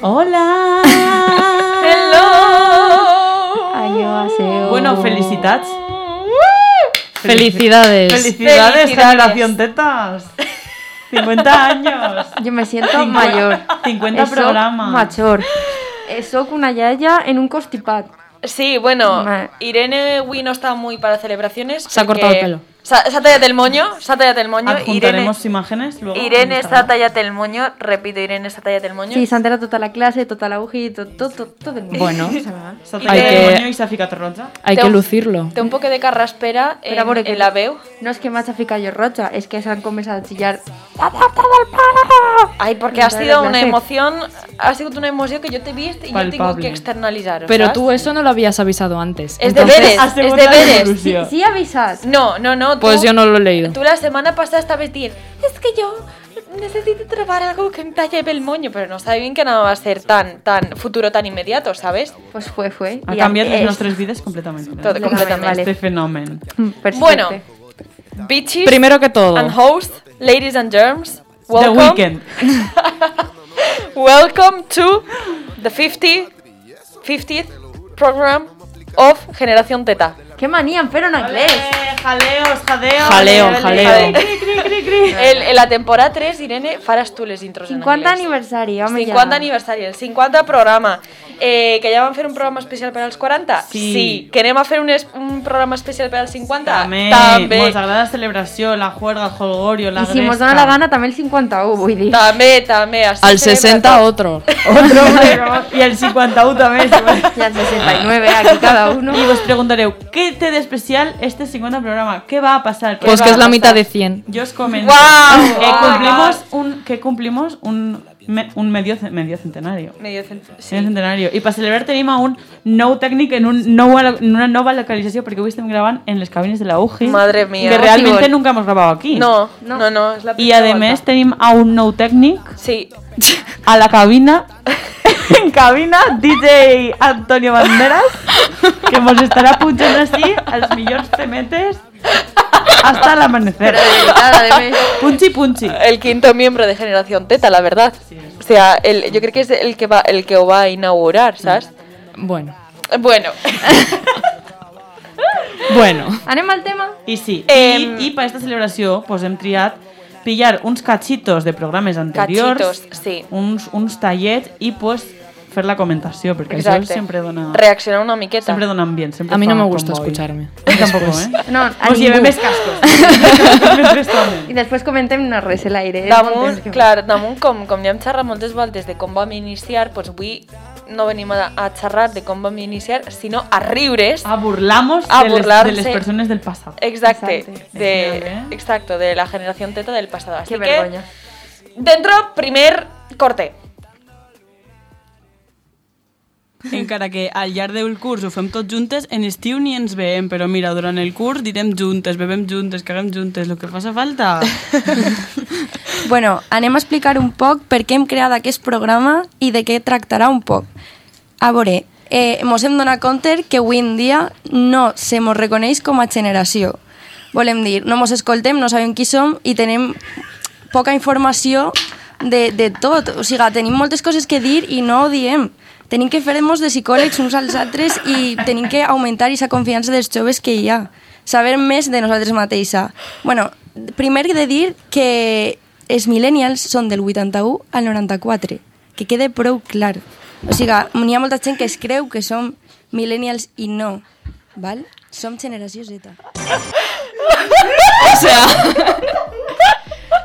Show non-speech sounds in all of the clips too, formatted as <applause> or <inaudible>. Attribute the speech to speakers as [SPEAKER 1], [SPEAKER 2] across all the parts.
[SPEAKER 1] Hola!
[SPEAKER 2] Hello!
[SPEAKER 1] 안녕하세요.
[SPEAKER 2] Bueno, felicitats. Felicidades,
[SPEAKER 3] Felicidades.
[SPEAKER 1] Felicidades.
[SPEAKER 2] generación tetas. 50 años.
[SPEAKER 1] Yo me siento
[SPEAKER 2] Cincu-
[SPEAKER 1] mayor.
[SPEAKER 2] 50
[SPEAKER 1] Soc
[SPEAKER 2] programas.
[SPEAKER 1] Mayor. Eh, Soc una yaya en un constipad.
[SPEAKER 4] Sí, bueno,
[SPEAKER 1] Ma-
[SPEAKER 4] Irene Wi no está muy para celebraciones.
[SPEAKER 3] Se ha
[SPEAKER 4] porque-
[SPEAKER 3] cortado el pelo.
[SPEAKER 4] Sa- Se ha tallado el moño, se ha tallado el moño. Irene,
[SPEAKER 2] Adjuntaremos imágenes luego. en
[SPEAKER 4] Irene se ha
[SPEAKER 2] Instagram.
[SPEAKER 4] tallado el moño, repito, Irene se ha tallado el moño.
[SPEAKER 1] Sí, Santera tota la clase, tota la uji, tot, tot, tot, tot el món.
[SPEAKER 3] Bueno.
[SPEAKER 2] Se ha
[SPEAKER 4] Hay
[SPEAKER 2] tallado el
[SPEAKER 3] que-
[SPEAKER 2] moño y se ha ficado roja.
[SPEAKER 3] Hay
[SPEAKER 4] Te-
[SPEAKER 3] que lucirlo.
[SPEAKER 4] Té un poco de carraspera en,
[SPEAKER 1] Però a veure, que-
[SPEAKER 4] en la veu.
[SPEAKER 1] <laughs> No es que m'hagi ficat jo roja, és que s'han començat a xillar.
[SPEAKER 4] Ay, porque
[SPEAKER 1] Vale,
[SPEAKER 4] ha sido una
[SPEAKER 1] gracias.
[SPEAKER 4] emoción, ha sido una emoción que yo te he visto y yo tengo
[SPEAKER 2] Palpable.
[SPEAKER 4] que externalizar.
[SPEAKER 3] Pero
[SPEAKER 4] ¿sabes?
[SPEAKER 3] tú eso no lo habías avisado antes.
[SPEAKER 4] Es
[SPEAKER 3] Entonces,
[SPEAKER 4] deberes,
[SPEAKER 2] a
[SPEAKER 4] es
[SPEAKER 2] segunda
[SPEAKER 4] deberes.
[SPEAKER 2] resolución.
[SPEAKER 1] Sí, sí, avisat.
[SPEAKER 4] No, no, no. tú-
[SPEAKER 3] Pues yo no lo he leído.
[SPEAKER 4] Tú la semana pasada estabas diciendo, es que yo necesito trabar algo que me talle el moño, pero no sabe bien que nada va a ser tan, tan futuro, tan inmediato, ¿sabes?
[SPEAKER 1] Pues fue, fue.
[SPEAKER 2] Ha
[SPEAKER 1] I
[SPEAKER 2] canviat les
[SPEAKER 1] és-
[SPEAKER 2] nostres vides completament.
[SPEAKER 4] Tot, completament.
[SPEAKER 1] vale.
[SPEAKER 2] Este fenomen.
[SPEAKER 1] Mm, Perfecte.
[SPEAKER 4] Bueno, bitches
[SPEAKER 3] Primero que todo,
[SPEAKER 4] and host, ladies and germs,
[SPEAKER 2] The
[SPEAKER 4] welcome,
[SPEAKER 2] Weekend.
[SPEAKER 4] welcome to the 50, 50th program of Generación Teta.
[SPEAKER 1] Qué manía en fer en anglès.
[SPEAKER 2] Eh, Jaleos, jadeos.
[SPEAKER 3] Jaleo,
[SPEAKER 2] Dale,
[SPEAKER 3] jaleo.
[SPEAKER 2] dale. Cri, cri, cri, cri.
[SPEAKER 4] El- en la temporada 3, Irene, farás tú les intros en
[SPEAKER 1] 50
[SPEAKER 4] anglès.
[SPEAKER 1] aniversari, home,
[SPEAKER 4] 50
[SPEAKER 1] ja.
[SPEAKER 4] aniversari, el 50 programa. Eh, que ja vam fer un programa especial per als 40?
[SPEAKER 2] Sí.
[SPEAKER 4] sí. Que anem a fer un, es- un programa especial per als 50?
[SPEAKER 2] També.
[SPEAKER 4] També.
[SPEAKER 2] Mos agrada la celebració, la juerga, el holgorio, la
[SPEAKER 1] I si mos
[SPEAKER 2] gresca.
[SPEAKER 1] dona la gana, també el 51, vull dir.
[SPEAKER 4] També, també. Així
[SPEAKER 3] al
[SPEAKER 4] celebra
[SPEAKER 3] 60
[SPEAKER 4] tot. <laughs>
[SPEAKER 3] otro.
[SPEAKER 2] Otro,
[SPEAKER 3] <laughs>
[SPEAKER 2] <laughs> y el 51 también. <laughs>
[SPEAKER 1] Y al 69, aquí cada
[SPEAKER 4] <laughs>
[SPEAKER 1] uno.
[SPEAKER 2] Y os preguntaré, ¿qué te de especial este 50 programa? ¿Qué va a pasar? ¿Qué
[SPEAKER 3] Pues
[SPEAKER 2] va
[SPEAKER 3] que
[SPEAKER 2] a
[SPEAKER 3] es la
[SPEAKER 2] pasar?
[SPEAKER 3] mitad de 100.
[SPEAKER 2] Yo os comento.
[SPEAKER 4] Guau,
[SPEAKER 2] que
[SPEAKER 4] guau.
[SPEAKER 2] cumplimos un, que cumplimos un, me- un medio, ce- medio centenario.
[SPEAKER 4] Medio cent- sí.
[SPEAKER 2] Medio centenario. Y para celebrar tenemos un no técnico en, un nou- en una nueva localización porque hoy estamos grabando en las cabines de la UGI.
[SPEAKER 4] Madre mía.
[SPEAKER 2] Que
[SPEAKER 4] Oh,
[SPEAKER 2] realmente
[SPEAKER 4] sí,
[SPEAKER 2] nunca hemos grabado aquí.
[SPEAKER 4] No,
[SPEAKER 1] No.
[SPEAKER 4] no, no, no és la
[SPEAKER 2] Y
[SPEAKER 4] primera
[SPEAKER 2] además
[SPEAKER 4] volta.
[SPEAKER 2] tenemos a un no técnico
[SPEAKER 4] Sí.
[SPEAKER 2] a la cabina. <laughs> En cabina, DJ Antonio Banderas, que nos estará punchando así los millones de metes hasta el amanecer.
[SPEAKER 4] <laughs>
[SPEAKER 1] Pero delicada, de més.
[SPEAKER 2] Punchi, punchi.
[SPEAKER 4] El quinto miembro de Generación Teta, la verdad. O sea, el, yo creo que es el que va el que ho va a inaugurar, ¿sabes?
[SPEAKER 3] Bueno.
[SPEAKER 4] Bueno,
[SPEAKER 3] Bueno.
[SPEAKER 1] Anem al tema?
[SPEAKER 2] Y sí,
[SPEAKER 4] Em,
[SPEAKER 2] y, para esta celebración, pues hem triat pillar uns cachitos de programas anteriores,
[SPEAKER 4] cachitos, sí.
[SPEAKER 2] uns, uns tallets y pues fer la comentación, porque
[SPEAKER 4] Exacte.
[SPEAKER 2] eso siempre dona...
[SPEAKER 4] Reaccionar una miqueta.
[SPEAKER 2] Sempre donen bien, sempre
[SPEAKER 3] A mí no
[SPEAKER 2] fan
[SPEAKER 3] me gusta
[SPEAKER 2] comboi.
[SPEAKER 3] escucharme.
[SPEAKER 2] A mi tampoco, eh?
[SPEAKER 5] <laughs>
[SPEAKER 1] No, a
[SPEAKER 2] Pues lleve
[SPEAKER 1] ningú.
[SPEAKER 2] més cascos. <laughs> Mentre estan.
[SPEAKER 1] I després comentem una res a l'aire. eh?
[SPEAKER 4] Damunt,
[SPEAKER 1] Moltes que-
[SPEAKER 4] clar, damunt, com, com ja hem xerrat moltes voltes de com vam iniciar, doncs avui no venim a, a xerrar de com vam iniciar, sinó a riure's,
[SPEAKER 1] Ah,
[SPEAKER 2] A burlamos
[SPEAKER 4] A
[SPEAKER 2] de, les, de
[SPEAKER 4] burlarse.
[SPEAKER 2] les persones del pasado.
[SPEAKER 4] exacte,
[SPEAKER 1] Exacte.
[SPEAKER 4] de,
[SPEAKER 2] Genial, eh?
[SPEAKER 4] exacto, de la generación teta del pasado. Así
[SPEAKER 1] Que
[SPEAKER 4] que,
[SPEAKER 1] vergonya.
[SPEAKER 4] dentro, primer corte.
[SPEAKER 5] Encara que al llarg del curs ho fem tots juntes, en estiu ni ens veiem, però mira, durant el curs direm juntes, bebem juntes, caguem juntes, el que faça falta.
[SPEAKER 6] Bueno, anem a explicar un poc per què hem creat aquest programa i de què tractarà un poc. A veure, eh, mos hem donat compte que avui en dia no se mos reconeix com a generació. Volem dir, no mos escoltem, no sabem qui som i tenem poca informació de, de tot. O sigui, tenim moltes coses que dir i no ho diem. Tenim que fer-nos de psicòlegs uns als altres i tenim que augmentar aquesta confiança dels joves que hi ha. Saber més de nosaltres mateixa. bueno, primer he de dir que els millennials són del 81 al 94. Que quede prou clar. O sigui, n'hi ha molta gent que es creu que som millennials i no. Val? Som generació Z.
[SPEAKER 3] O sea, <laughs>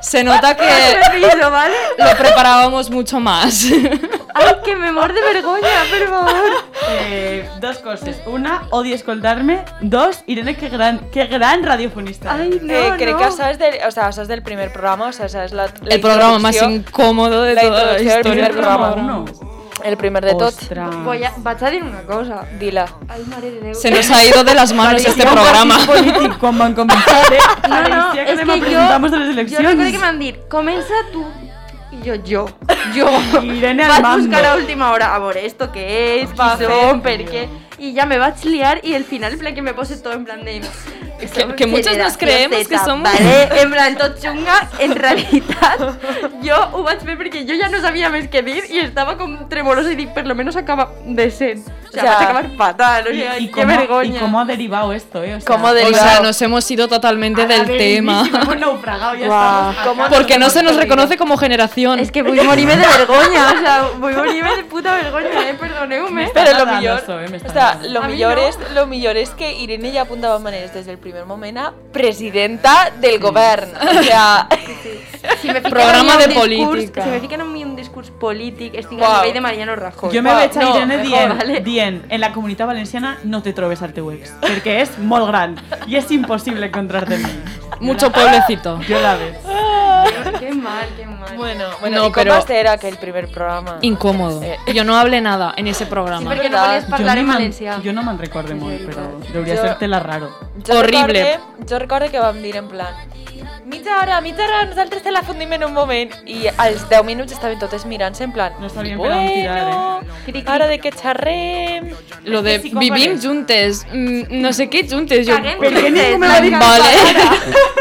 [SPEAKER 3] se nota que
[SPEAKER 1] Permiso, ¿vale?
[SPEAKER 3] lo preparábamos mucho más.
[SPEAKER 1] Ai, que me mor de vergonya, per favor.
[SPEAKER 2] Eh, dos cosas. Una, odio escoltarme. Dos, Irene, qué gran, qué gran radiofonista.
[SPEAKER 1] Ai, no,
[SPEAKER 4] eh,
[SPEAKER 1] no.
[SPEAKER 4] crec que saps del, o sea, saps del primer programa, o sea, saps la, la
[SPEAKER 3] El programa más
[SPEAKER 4] introducció,
[SPEAKER 3] incómodo de
[SPEAKER 4] la
[SPEAKER 3] toda la
[SPEAKER 4] introducció del
[SPEAKER 3] historia.
[SPEAKER 4] primer programa.
[SPEAKER 2] uno.
[SPEAKER 4] el primer de tot.
[SPEAKER 2] Ostras.
[SPEAKER 1] Voy a... Vaig a dir una cosa.
[SPEAKER 4] Dila.
[SPEAKER 1] Ai, mare de Déu.
[SPEAKER 3] Se nos ha ido de las manos este
[SPEAKER 2] Parecía un
[SPEAKER 3] programa.
[SPEAKER 2] partido político cuando han comenzado, ¿eh? <laughs>
[SPEAKER 1] No, no,
[SPEAKER 2] Parecía que
[SPEAKER 1] és
[SPEAKER 2] me
[SPEAKER 1] que jo...
[SPEAKER 2] presentamos de las
[SPEAKER 1] Jo recordo
[SPEAKER 2] elecciones.
[SPEAKER 1] que m'han dit, comença tu. I jo, jo, jo.
[SPEAKER 2] <laughs> Irene al
[SPEAKER 1] vaig
[SPEAKER 2] mando.
[SPEAKER 1] buscar a última hora, a veure, esto què és, qui som, per què... I ja me vaig liar i al final ple que me pose tot en plan de...
[SPEAKER 3] que- que muchos nos creemos que somos- <laughs>
[SPEAKER 1] Vale, en plan, tot xunga, en realitat, jo ho vaig fer perquè jo ja no sabia més què dir i estava com tremolosa i dic, per lo menos acaba decent. O sea,
[SPEAKER 4] Ja.
[SPEAKER 1] vaig acabar fatal, o sea,
[SPEAKER 2] Y, y
[SPEAKER 1] qué
[SPEAKER 2] cómo,
[SPEAKER 1] vergonya.
[SPEAKER 2] y cómo ha derivado esto, ¿eh? O sea,
[SPEAKER 4] ¿Cómo
[SPEAKER 3] O
[SPEAKER 4] derivado?
[SPEAKER 3] sea, nos hemos ido totalmente del tema.
[SPEAKER 2] Hemos naufragado, ya
[SPEAKER 4] Guau.
[SPEAKER 2] estamos acá.
[SPEAKER 4] ¿Cómo
[SPEAKER 3] Porque no se nos reconoce como generación.
[SPEAKER 1] És que vull morir-me de vergonya, o sea, vull morir-me de puta vergonya, eh, perdoneu-me.
[SPEAKER 4] Pero lo
[SPEAKER 2] Está
[SPEAKER 4] mejor,
[SPEAKER 2] danoso, eh, me está
[SPEAKER 4] o sea,
[SPEAKER 2] dando.
[SPEAKER 4] lo
[SPEAKER 1] A mí
[SPEAKER 4] mejor
[SPEAKER 1] no.
[SPEAKER 4] es, lo mejor es que Irene ya apuntaba maneras desde el primer momento a presidenta del gobierno. O sea,
[SPEAKER 1] Si me fiquen
[SPEAKER 3] Programa
[SPEAKER 1] a mi
[SPEAKER 3] de
[SPEAKER 1] un discurs-
[SPEAKER 3] política.
[SPEAKER 1] Si me fiquen a mi un discurs polític, estic
[SPEAKER 4] Guau.
[SPEAKER 1] al nivell de Mariano Rajoy.
[SPEAKER 2] Yo me
[SPEAKER 4] Guau,
[SPEAKER 2] veig a
[SPEAKER 4] no,
[SPEAKER 2] Irene
[SPEAKER 4] mejor,
[SPEAKER 2] dient,
[SPEAKER 1] vale.
[SPEAKER 2] dient, en la comunitat valenciana no te trobes al teu ex, perquè és molt gran i és impossible encontrar-te amb ell.
[SPEAKER 3] Mucho pueblecito.
[SPEAKER 2] Jo la veig.
[SPEAKER 1] Qué mal, qué mal.
[SPEAKER 4] bueno,
[SPEAKER 3] No,
[SPEAKER 4] bueno, ¿y
[SPEAKER 3] pero-
[SPEAKER 4] cómo este era aquel primer programa?
[SPEAKER 3] Incómodo.
[SPEAKER 4] Eh.
[SPEAKER 3] Yo no hablé nada en ese
[SPEAKER 1] Sí,
[SPEAKER 3] programa.
[SPEAKER 1] perquè no
[SPEAKER 4] verdad.
[SPEAKER 1] volies parlar
[SPEAKER 2] ni
[SPEAKER 1] en
[SPEAKER 2] me'n-
[SPEAKER 1] valencià.
[SPEAKER 2] Jo no me'n recordo molt, però
[SPEAKER 4] Jo-
[SPEAKER 2] deuria ser-te-la raro.
[SPEAKER 4] Jo
[SPEAKER 3] Horrible.
[SPEAKER 4] Recorde, jo recorde que vam dir en plan mitja hora, mitja hora, nosaltres te la fundim en un moment i als 10 minuts estaven totes mirant-se en plan
[SPEAKER 2] No sabien per on tirar, eh?"
[SPEAKER 4] bueno,
[SPEAKER 1] Cric,
[SPEAKER 4] ara de què xerrem
[SPEAKER 3] Lo de
[SPEAKER 2] Sí, sí,
[SPEAKER 3] vivim
[SPEAKER 2] compares.
[SPEAKER 3] juntes, mm, no sé qué juntes. Yo...
[SPEAKER 1] Caguem
[SPEAKER 2] Per què
[SPEAKER 1] juntes,
[SPEAKER 2] ningú me
[SPEAKER 1] la
[SPEAKER 2] va dir
[SPEAKER 1] cara. <laughs>
[SPEAKER 3] Vale.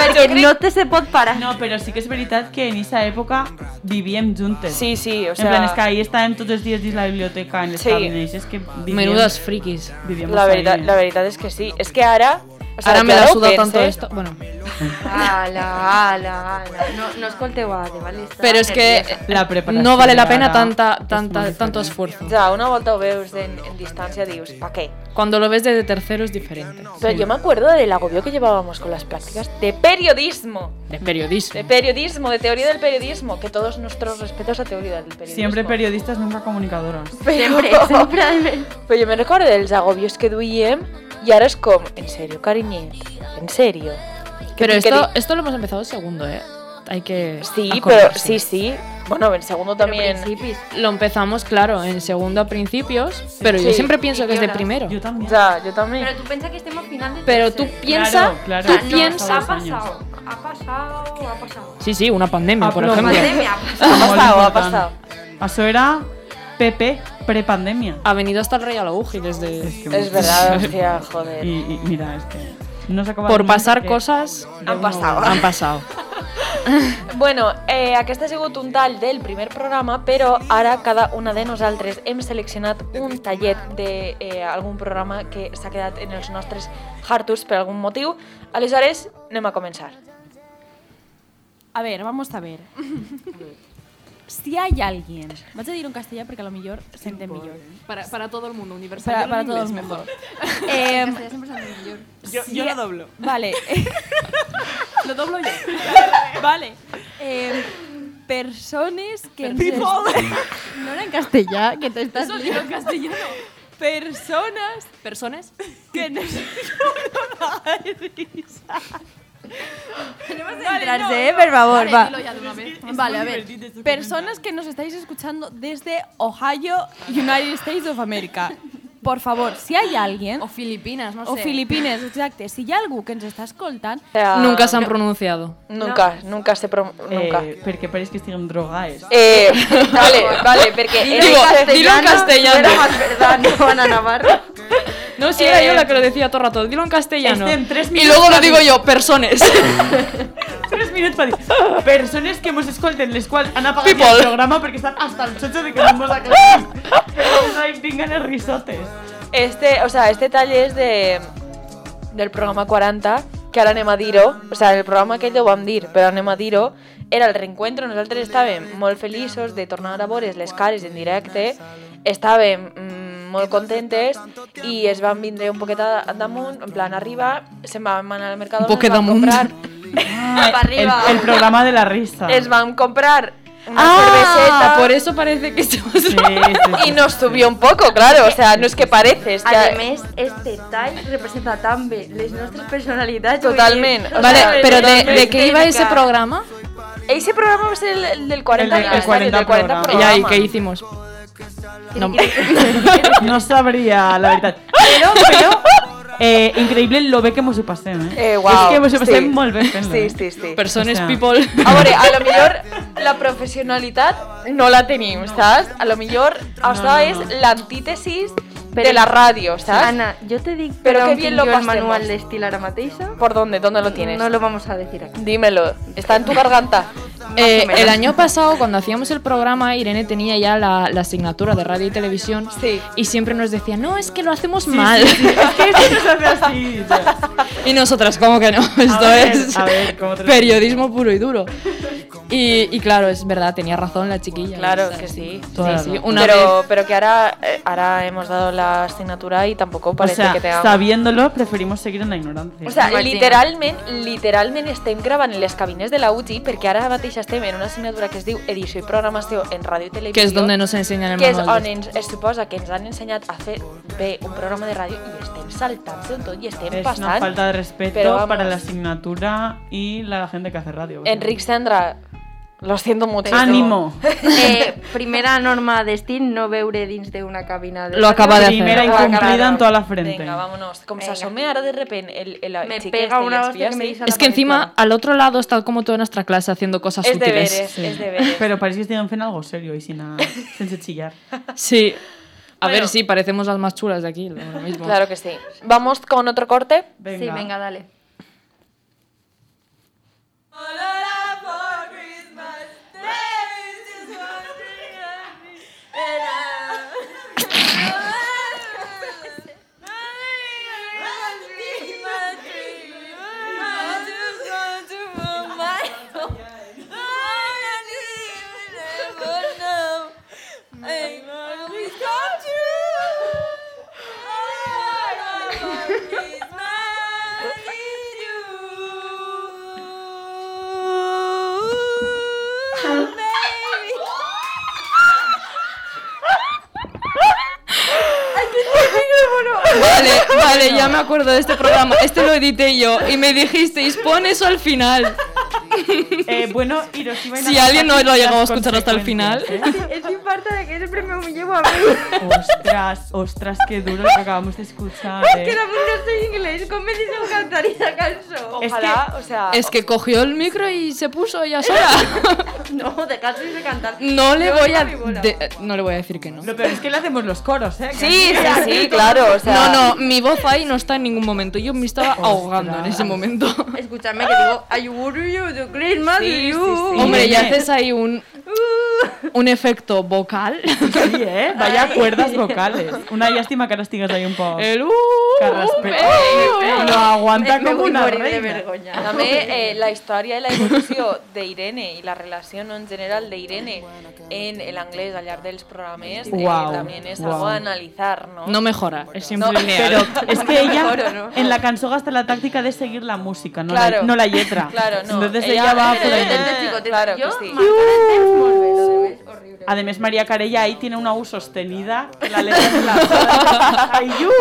[SPEAKER 1] Perquè no te se pot parar.
[SPEAKER 2] No, però sí que és veritat que en aquesta època vivíem juntes.
[SPEAKER 4] Sí, sí,
[SPEAKER 2] en
[SPEAKER 4] o
[SPEAKER 2] plan, és que
[SPEAKER 4] sea,
[SPEAKER 2] ahir estàvem tots els dies dins la biblioteca, en les
[SPEAKER 4] Sí.
[SPEAKER 2] sí. cabines, és que vivíem...
[SPEAKER 3] Menudas frikis.
[SPEAKER 2] Vivíem
[SPEAKER 4] la veritat,
[SPEAKER 2] ahí.
[SPEAKER 4] la veritat és que sí. És que ara... O sea,
[SPEAKER 3] Ahora me
[SPEAKER 4] jo
[SPEAKER 3] la
[SPEAKER 4] ho
[SPEAKER 3] suda tanto
[SPEAKER 4] pense,
[SPEAKER 3] esto. Bueno,
[SPEAKER 1] Ala, ala, ala. No, no escolteu a Ade, vale? Està
[SPEAKER 3] pero es que eh,
[SPEAKER 1] nerviosa.
[SPEAKER 2] La preparació
[SPEAKER 3] no vale la
[SPEAKER 2] ara
[SPEAKER 3] pena tanta,
[SPEAKER 2] és molt
[SPEAKER 3] tanta,
[SPEAKER 2] diferent.
[SPEAKER 3] tanto esfuerzo.
[SPEAKER 4] Ja, una volta ho veus en, en distància dius, pa què?
[SPEAKER 3] Cuando lo ves desde tercero es diferente.
[SPEAKER 4] Pero yo me acuerdo del agobio que llevábamos con las prácticas de periodismo.
[SPEAKER 3] De
[SPEAKER 4] De
[SPEAKER 3] periodismo.
[SPEAKER 4] periodismo, de teoría del periodismo. Que todos nuestros respetos a teoría del periodismo.
[SPEAKER 2] Siempre periodistas, nunca comunicadoras.
[SPEAKER 1] <laughs>
[SPEAKER 4] Però-
[SPEAKER 1] Sempre, sempre ha de ver.
[SPEAKER 4] Però jo me'n recordo dels agobios que duíem i ara és com, en serio, cariñet, en serio. Que
[SPEAKER 3] Pero
[SPEAKER 4] tinc que
[SPEAKER 3] esto,
[SPEAKER 4] dir-
[SPEAKER 3] esto lo hemos empezado segundo, ¿eh? Hay que.
[SPEAKER 4] Sí, pero
[SPEAKER 3] acordarse.
[SPEAKER 4] sí, sí. Bueno, en segundo también...
[SPEAKER 1] Però principis.
[SPEAKER 3] Lo empezamos, claro, en segundo a principios, pero yo
[SPEAKER 4] Sí.
[SPEAKER 3] siempre pienso que es de
[SPEAKER 1] Yo
[SPEAKER 3] primero.
[SPEAKER 2] Yo también.
[SPEAKER 4] Ya, yo también.
[SPEAKER 1] Pero tú piensas que estemos final de
[SPEAKER 3] Pero tú
[SPEAKER 1] tercer.
[SPEAKER 3] piensa,
[SPEAKER 2] claro.
[SPEAKER 3] tú
[SPEAKER 1] Ah, no,
[SPEAKER 3] piensa.
[SPEAKER 1] Ha pasado, ha pasado, ha pasado.
[SPEAKER 3] Sí, sí, una pandemia, por
[SPEAKER 2] Hablo-
[SPEAKER 3] ejemplo.
[SPEAKER 1] Pandemia, ha pasado.
[SPEAKER 4] Ha pasado, ha
[SPEAKER 2] Molt
[SPEAKER 4] pasado.
[SPEAKER 2] important. Eso era PP prepandemia.
[SPEAKER 3] Ha venido hasta el Rey Alauji desde.
[SPEAKER 2] que
[SPEAKER 4] Es verdad, hostia, joder.
[SPEAKER 2] Y, y mira, es que no se acaba
[SPEAKER 3] Por
[SPEAKER 2] nunca
[SPEAKER 3] pasar
[SPEAKER 2] que-
[SPEAKER 3] cosas.
[SPEAKER 2] de una
[SPEAKER 4] pasado.
[SPEAKER 3] Han pasado.
[SPEAKER 4] Bueno, eh, aquest ha sigut un tall del primer programa, però ara cada una de nosaltres hem seleccionat un tallet d'algun eh, algun programa que s'ha quedat en els nostres hartus per algun motiu. Aleshores, anem a començar.
[SPEAKER 7] A ver, vamos a ver. si hay alguien. Vas a decir en castellano porque a lo mejor se entiende mejor.
[SPEAKER 3] Para, todo el mundo, universal.
[SPEAKER 7] Para, para todo el mundo. Eh,
[SPEAKER 5] Yo, yo lo doblo.
[SPEAKER 7] vale. lo doblo yo. vale. Eh, personas que. ens es- No era en castellano, que te estás. Eso en castellano. Personas
[SPEAKER 3] ¿Personas?
[SPEAKER 7] que nos.
[SPEAKER 6] Centrarse, eh, per favor, va.
[SPEAKER 7] Vale, a ver. Personas que nos estáis escuchando desde Ohio, United States of America. Por favor, si hay alguien,
[SPEAKER 3] O Filipinas, no
[SPEAKER 7] o Filipines, exacte, si hi ha algú que ens està escoltant,
[SPEAKER 4] O sea,
[SPEAKER 3] Nunca se han pronunciado.
[SPEAKER 4] Nunca, nunca se prom... Nunca.
[SPEAKER 2] Eh, perquè pareix que estiguem drogades.
[SPEAKER 4] Eh,
[SPEAKER 3] <laughs>
[SPEAKER 4] <laughs> vale, vale, perquè...
[SPEAKER 1] Dilo
[SPEAKER 4] en
[SPEAKER 3] Digo,
[SPEAKER 4] cas-
[SPEAKER 3] dilo en castellano.
[SPEAKER 1] Era más verdad, no, Ana
[SPEAKER 3] <laughs>
[SPEAKER 1] Navarro.
[SPEAKER 3] No, sí, era
[SPEAKER 4] Eh,
[SPEAKER 3] yo la que lo decía todo el rato. Dilo en castellano.
[SPEAKER 2] Este en tres
[SPEAKER 3] y
[SPEAKER 2] minutos
[SPEAKER 3] luego lo
[SPEAKER 2] para
[SPEAKER 3] digo
[SPEAKER 2] mí.
[SPEAKER 3] yo, personas.
[SPEAKER 2] Tres minuts per dir. Persones que mos escolten, les quals han apagat
[SPEAKER 3] People.
[SPEAKER 2] el programa perquè estan hasta el xocho de que no mos aclarim. Però us ahí vingan els risotes.
[SPEAKER 4] Este, o sea, este tall és de, del programa 40, que ara anem a dir-ho, o sea, el programa aquell ho vam dir, però anem a dir-ho, era el reencuentro, nosaltres estàvem molt feliços de tornar a veure les cares en directe, estàvem mm, molt contentes i es van vindre un poquet a- damunt, en plan arriba, se'n van anar al mercat,
[SPEAKER 3] Un poquet
[SPEAKER 4] es van
[SPEAKER 3] damunt.
[SPEAKER 4] comprar,
[SPEAKER 2] Ah, el,
[SPEAKER 1] arriba.
[SPEAKER 2] el programa de la risa.
[SPEAKER 4] es van comprar una cerveseta
[SPEAKER 3] Ah, por eso parece que estamos...
[SPEAKER 2] Sí, sí, sí.
[SPEAKER 4] y nos subió un poco, claro, o sea, no es que pareces, que
[SPEAKER 1] A més, este tall representa tan bé les nostres personalitats. vull dir,
[SPEAKER 4] Totalment, o
[SPEAKER 3] Vale,
[SPEAKER 4] sea,
[SPEAKER 3] pero de,
[SPEAKER 4] totalmente
[SPEAKER 3] de qué iba ese
[SPEAKER 1] idèntica.
[SPEAKER 3] programa?
[SPEAKER 4] Ese programa va a ser el, el del 40
[SPEAKER 2] El del- el
[SPEAKER 4] aniversario,
[SPEAKER 2] 40
[SPEAKER 4] del 40
[SPEAKER 2] programa.
[SPEAKER 4] programa.
[SPEAKER 3] Ya, ¿y qué hicimos? No.
[SPEAKER 2] No sabría, la verdad. Pero, pero, eh, increíble lo bé que hemos ho passem, eh?
[SPEAKER 4] Eh, guau,
[SPEAKER 2] És que mos ho passem
[SPEAKER 4] sí.
[SPEAKER 2] molt bé fent-lo,
[SPEAKER 4] Sí,
[SPEAKER 2] eh?
[SPEAKER 4] sí, sí.
[SPEAKER 2] O
[SPEAKER 3] Personas,
[SPEAKER 2] sea.
[SPEAKER 3] people.
[SPEAKER 4] A veure, Este. a lo millor la professionalitat no la tenim, saps? A lo millor això
[SPEAKER 2] no, no.
[SPEAKER 4] és l'antítesis
[SPEAKER 1] Pero-
[SPEAKER 4] de la radio, ¿sabes?
[SPEAKER 1] Ana, yo te digo
[SPEAKER 4] Pero
[SPEAKER 1] pero
[SPEAKER 4] qué
[SPEAKER 1] que
[SPEAKER 4] bien
[SPEAKER 1] bien
[SPEAKER 4] lo
[SPEAKER 1] lo el
[SPEAKER 4] pasemos.
[SPEAKER 1] manual de estilo Aramateixa.
[SPEAKER 4] ¿Por dónde? ¿Dónde lo tienes?
[SPEAKER 1] No lo vamos a
[SPEAKER 4] <laughs>
[SPEAKER 1] decir aquí.
[SPEAKER 4] Dímelo. Está en tu garganta.
[SPEAKER 1] Más o
[SPEAKER 3] Eh,
[SPEAKER 1] menos.
[SPEAKER 3] el año pasado, cuando hacíamos el programa, Irene tenía ya la, la asignatura de radio y televisión
[SPEAKER 4] Sí.
[SPEAKER 3] y siempre nos decía, no, es que lo hacemos mal.
[SPEAKER 2] ¿Qué se nos hace así?
[SPEAKER 3] <laughs> Y nosotras, ¿cómo que no? Esto
[SPEAKER 2] ver,
[SPEAKER 3] es
[SPEAKER 2] a ver, ¿cómo te lo-
[SPEAKER 3] periodismo puro y duro. Y, y claro, es verdad, tenía razón la chiquilla.
[SPEAKER 4] Claro
[SPEAKER 3] ¿sabes?
[SPEAKER 4] que sí.
[SPEAKER 3] Sí, sí, una
[SPEAKER 4] pero,
[SPEAKER 3] vez.
[SPEAKER 4] pero que ahora, eh, ahora hemos dado la asignatura y tampoco
[SPEAKER 2] O
[SPEAKER 4] parece
[SPEAKER 2] sea,
[SPEAKER 4] que tengamos.
[SPEAKER 2] sabiéndolo, preferimos seguir en la ignorancia.
[SPEAKER 4] O sea,
[SPEAKER 1] Imagina.
[SPEAKER 4] literalment, literalment estem gravant en les cabines de la UTI perquè ara mateix estem en una assignatura que es diu Edició i Programació en Ràdio i Televisió.
[SPEAKER 3] Que es donde nos enseñan el
[SPEAKER 4] que és
[SPEAKER 3] manual.
[SPEAKER 4] on ens, es suposa que ens han ensenyat a fer bé un programa de ràdio i estem saltant-se tot i estem
[SPEAKER 2] es
[SPEAKER 4] passant.
[SPEAKER 2] una falta de
[SPEAKER 4] pero
[SPEAKER 2] respeto
[SPEAKER 4] vamos.
[SPEAKER 2] para la asignatura y la gente que hace radio.
[SPEAKER 4] Enric Sandra, lo siento mucho.
[SPEAKER 2] Ánimo.
[SPEAKER 1] Eh, primera norma de Steam, no veure dins d'una cabina de...
[SPEAKER 3] Lo <laughs> acaba de
[SPEAKER 2] Primera
[SPEAKER 3] hacer.
[SPEAKER 4] Claro.
[SPEAKER 2] incumplida en toda la frente.
[SPEAKER 4] Venga, vámonos. Com
[SPEAKER 1] Venga.
[SPEAKER 4] s'assome ara de repente el, el, el
[SPEAKER 1] Me
[SPEAKER 4] chique
[SPEAKER 1] pega
[SPEAKER 4] este i
[SPEAKER 1] una
[SPEAKER 4] els
[SPEAKER 1] hostia
[SPEAKER 4] pillas,
[SPEAKER 1] que me
[SPEAKER 4] sí.
[SPEAKER 1] dice a la
[SPEAKER 3] Es que encima, al otro lado está como toda nuestra clase haciendo cosas
[SPEAKER 4] Es
[SPEAKER 3] útiles.
[SPEAKER 4] deberes,
[SPEAKER 3] Sí.
[SPEAKER 4] es deberes.
[SPEAKER 2] Pero parece que estén en algo serio y sin,
[SPEAKER 3] <laughs>
[SPEAKER 2] a- sin chillar.
[SPEAKER 3] Sí. A
[SPEAKER 4] Bueno.
[SPEAKER 3] ver, sí, parecemos las más chulas de aquí. lo mismo.
[SPEAKER 4] Claro que sí. Vamos con otro corte.
[SPEAKER 2] Venga.
[SPEAKER 1] Sí, venga, dale.
[SPEAKER 4] <laughs>
[SPEAKER 3] Vale, vale, ya me acuerdo de este programa. Este lo edité yo y me dijisteis, pon eso al final.
[SPEAKER 2] Eh, bueno, y nos iban a
[SPEAKER 3] Si alguien no
[SPEAKER 2] contar
[SPEAKER 3] lo ha llegado a
[SPEAKER 2] las
[SPEAKER 3] escuchar hasta el final.
[SPEAKER 2] consecuencias,
[SPEAKER 1] Es mi parte de que siempre me llevo a mí.
[SPEAKER 2] ¿eh? Ostras, ostras, qué duro lo que acabamos de escuchar. eh.
[SPEAKER 1] Que también no sé inglés, ¿cómo me dice cantar esa canción?
[SPEAKER 4] Ojalá, o sea...
[SPEAKER 3] Es que cogió el micro y se puso ella
[SPEAKER 4] <laughs>
[SPEAKER 3] sola.
[SPEAKER 1] No, dejarse de cantar.
[SPEAKER 3] No le
[SPEAKER 1] Yo
[SPEAKER 3] voy a
[SPEAKER 1] soy bola.
[SPEAKER 3] de- no le voy a decir que no.
[SPEAKER 2] Lo peor es que le hacemos los coros, ¿eh?
[SPEAKER 4] Sí,
[SPEAKER 3] <laughs>
[SPEAKER 4] sí, sí, claro, o sea...
[SPEAKER 3] No, no, mi voz ahí no está en ningún momento. Yo me estaba ahogando en ese momento.
[SPEAKER 1] Escuchadme que digo, I would you do Christmas
[SPEAKER 2] Sí,
[SPEAKER 1] you.
[SPEAKER 2] sí, sí.
[SPEAKER 3] Hombre, ya
[SPEAKER 2] Irene.
[SPEAKER 3] haces ahí un
[SPEAKER 4] Uh.
[SPEAKER 3] un efecto
[SPEAKER 4] <laughs>
[SPEAKER 3] vocal.
[SPEAKER 2] Sí, ¿eh? Vaya cuerdas vocales. Una lástima que ahora estigas ahí un poco.
[SPEAKER 3] El uh,
[SPEAKER 4] <laughs>
[SPEAKER 2] Carraspe-
[SPEAKER 3] eh,
[SPEAKER 2] Lo aguanta
[SPEAKER 1] Me- me
[SPEAKER 2] como
[SPEAKER 1] vull
[SPEAKER 2] una
[SPEAKER 1] morir de
[SPEAKER 2] reina.
[SPEAKER 1] vergonya.
[SPEAKER 4] També eh, la història i la evolució d'Irene i la relació en general d'Irene en l'anglès al llarg dels programes
[SPEAKER 2] Guau,
[SPEAKER 4] eh, també és
[SPEAKER 2] guau.
[SPEAKER 4] algo a analitzar, no?
[SPEAKER 3] No mejora, es siempre
[SPEAKER 4] No,
[SPEAKER 3] lineal.
[SPEAKER 2] Es
[SPEAKER 4] <laughs>
[SPEAKER 2] que
[SPEAKER 1] Claro,
[SPEAKER 2] ella
[SPEAKER 1] ¿no?
[SPEAKER 2] en la canción gasta la táctica de seguir la música, no,
[SPEAKER 4] Claro.
[SPEAKER 2] la, no la letra.
[SPEAKER 4] Claro, no.
[SPEAKER 2] Entonces
[SPEAKER 4] Ella-
[SPEAKER 2] ella, va
[SPEAKER 4] Pero
[SPEAKER 2] por ahí.
[SPEAKER 4] ella-
[SPEAKER 1] Este chico, te-
[SPEAKER 4] Claro
[SPEAKER 1] yo,
[SPEAKER 4] que sí.
[SPEAKER 1] Marta de Tex, volver, lo de ver, horrible.
[SPEAKER 2] Además, María Carella ahí tiene una U sostenida que la
[SPEAKER 4] <laughs>
[SPEAKER 2] letra se la Ay, uh,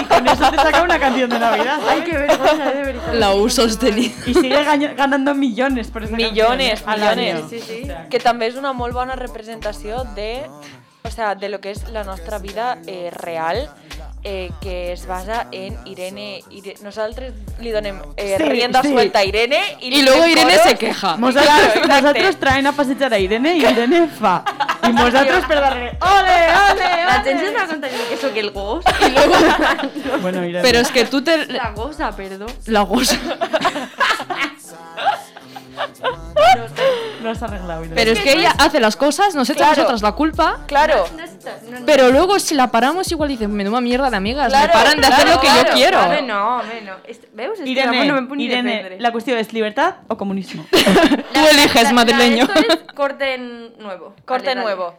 [SPEAKER 2] Y con eso te saca una canción de Navidad. ¿sabes?
[SPEAKER 1] Ay, qué vergüenza, de verdad.
[SPEAKER 3] La U sostenida.
[SPEAKER 2] Y sigue gañ- ganando millones por esa
[SPEAKER 4] Millones,
[SPEAKER 2] canción ¿eh? al
[SPEAKER 4] millones.
[SPEAKER 2] año.
[SPEAKER 4] Sí, sí, sí. Que també és una molt bona representació de, o sea, de lo que és la nostra vida eh, real eh, que es basa en Irene. Ire- Nosaltres li donem eh,
[SPEAKER 2] Sí,
[SPEAKER 4] rienda
[SPEAKER 2] sí.
[SPEAKER 4] suelta a Irene i, li
[SPEAKER 3] Y luego
[SPEAKER 4] fem
[SPEAKER 3] Irene
[SPEAKER 4] coros.
[SPEAKER 3] se queja.
[SPEAKER 2] Nosotros,
[SPEAKER 4] exacte.
[SPEAKER 2] nosotros traen a pasear a Irene y Irene fa. Y vosotros, perdón, ¡ole,
[SPEAKER 1] La gente me ha contado que eso que el gos.
[SPEAKER 3] Y luego-
[SPEAKER 2] ole! Bueno, Irene.
[SPEAKER 3] Pero es que tú te
[SPEAKER 1] La goza, perdón.
[SPEAKER 3] la goza.
[SPEAKER 2] lo has arreglado, Irene.
[SPEAKER 3] Pero es que ella hace las cosas, nos echa a
[SPEAKER 4] Claro.
[SPEAKER 3] nosotras la culpa.
[SPEAKER 4] Claro,
[SPEAKER 1] No está- no, no.
[SPEAKER 3] Pero luego si la paramos igual dicen, menuda mierda de amigas,
[SPEAKER 4] Claro,
[SPEAKER 3] me paran de hacer
[SPEAKER 4] claro,
[SPEAKER 3] lo que
[SPEAKER 4] claro,
[SPEAKER 3] yo quiero.
[SPEAKER 1] Hombre, no, hombre, no. Este- ¿Veus? Este
[SPEAKER 2] Irene,
[SPEAKER 1] amor no me pone ni ¿eh?
[SPEAKER 2] Irene,
[SPEAKER 1] defendre.
[SPEAKER 2] la cuestión es libertad o comunismo.
[SPEAKER 3] Tú eliges madrileño.
[SPEAKER 1] La, esto es corte en nuevo.
[SPEAKER 4] corte
[SPEAKER 1] Vale, dale.
[SPEAKER 4] nuevo.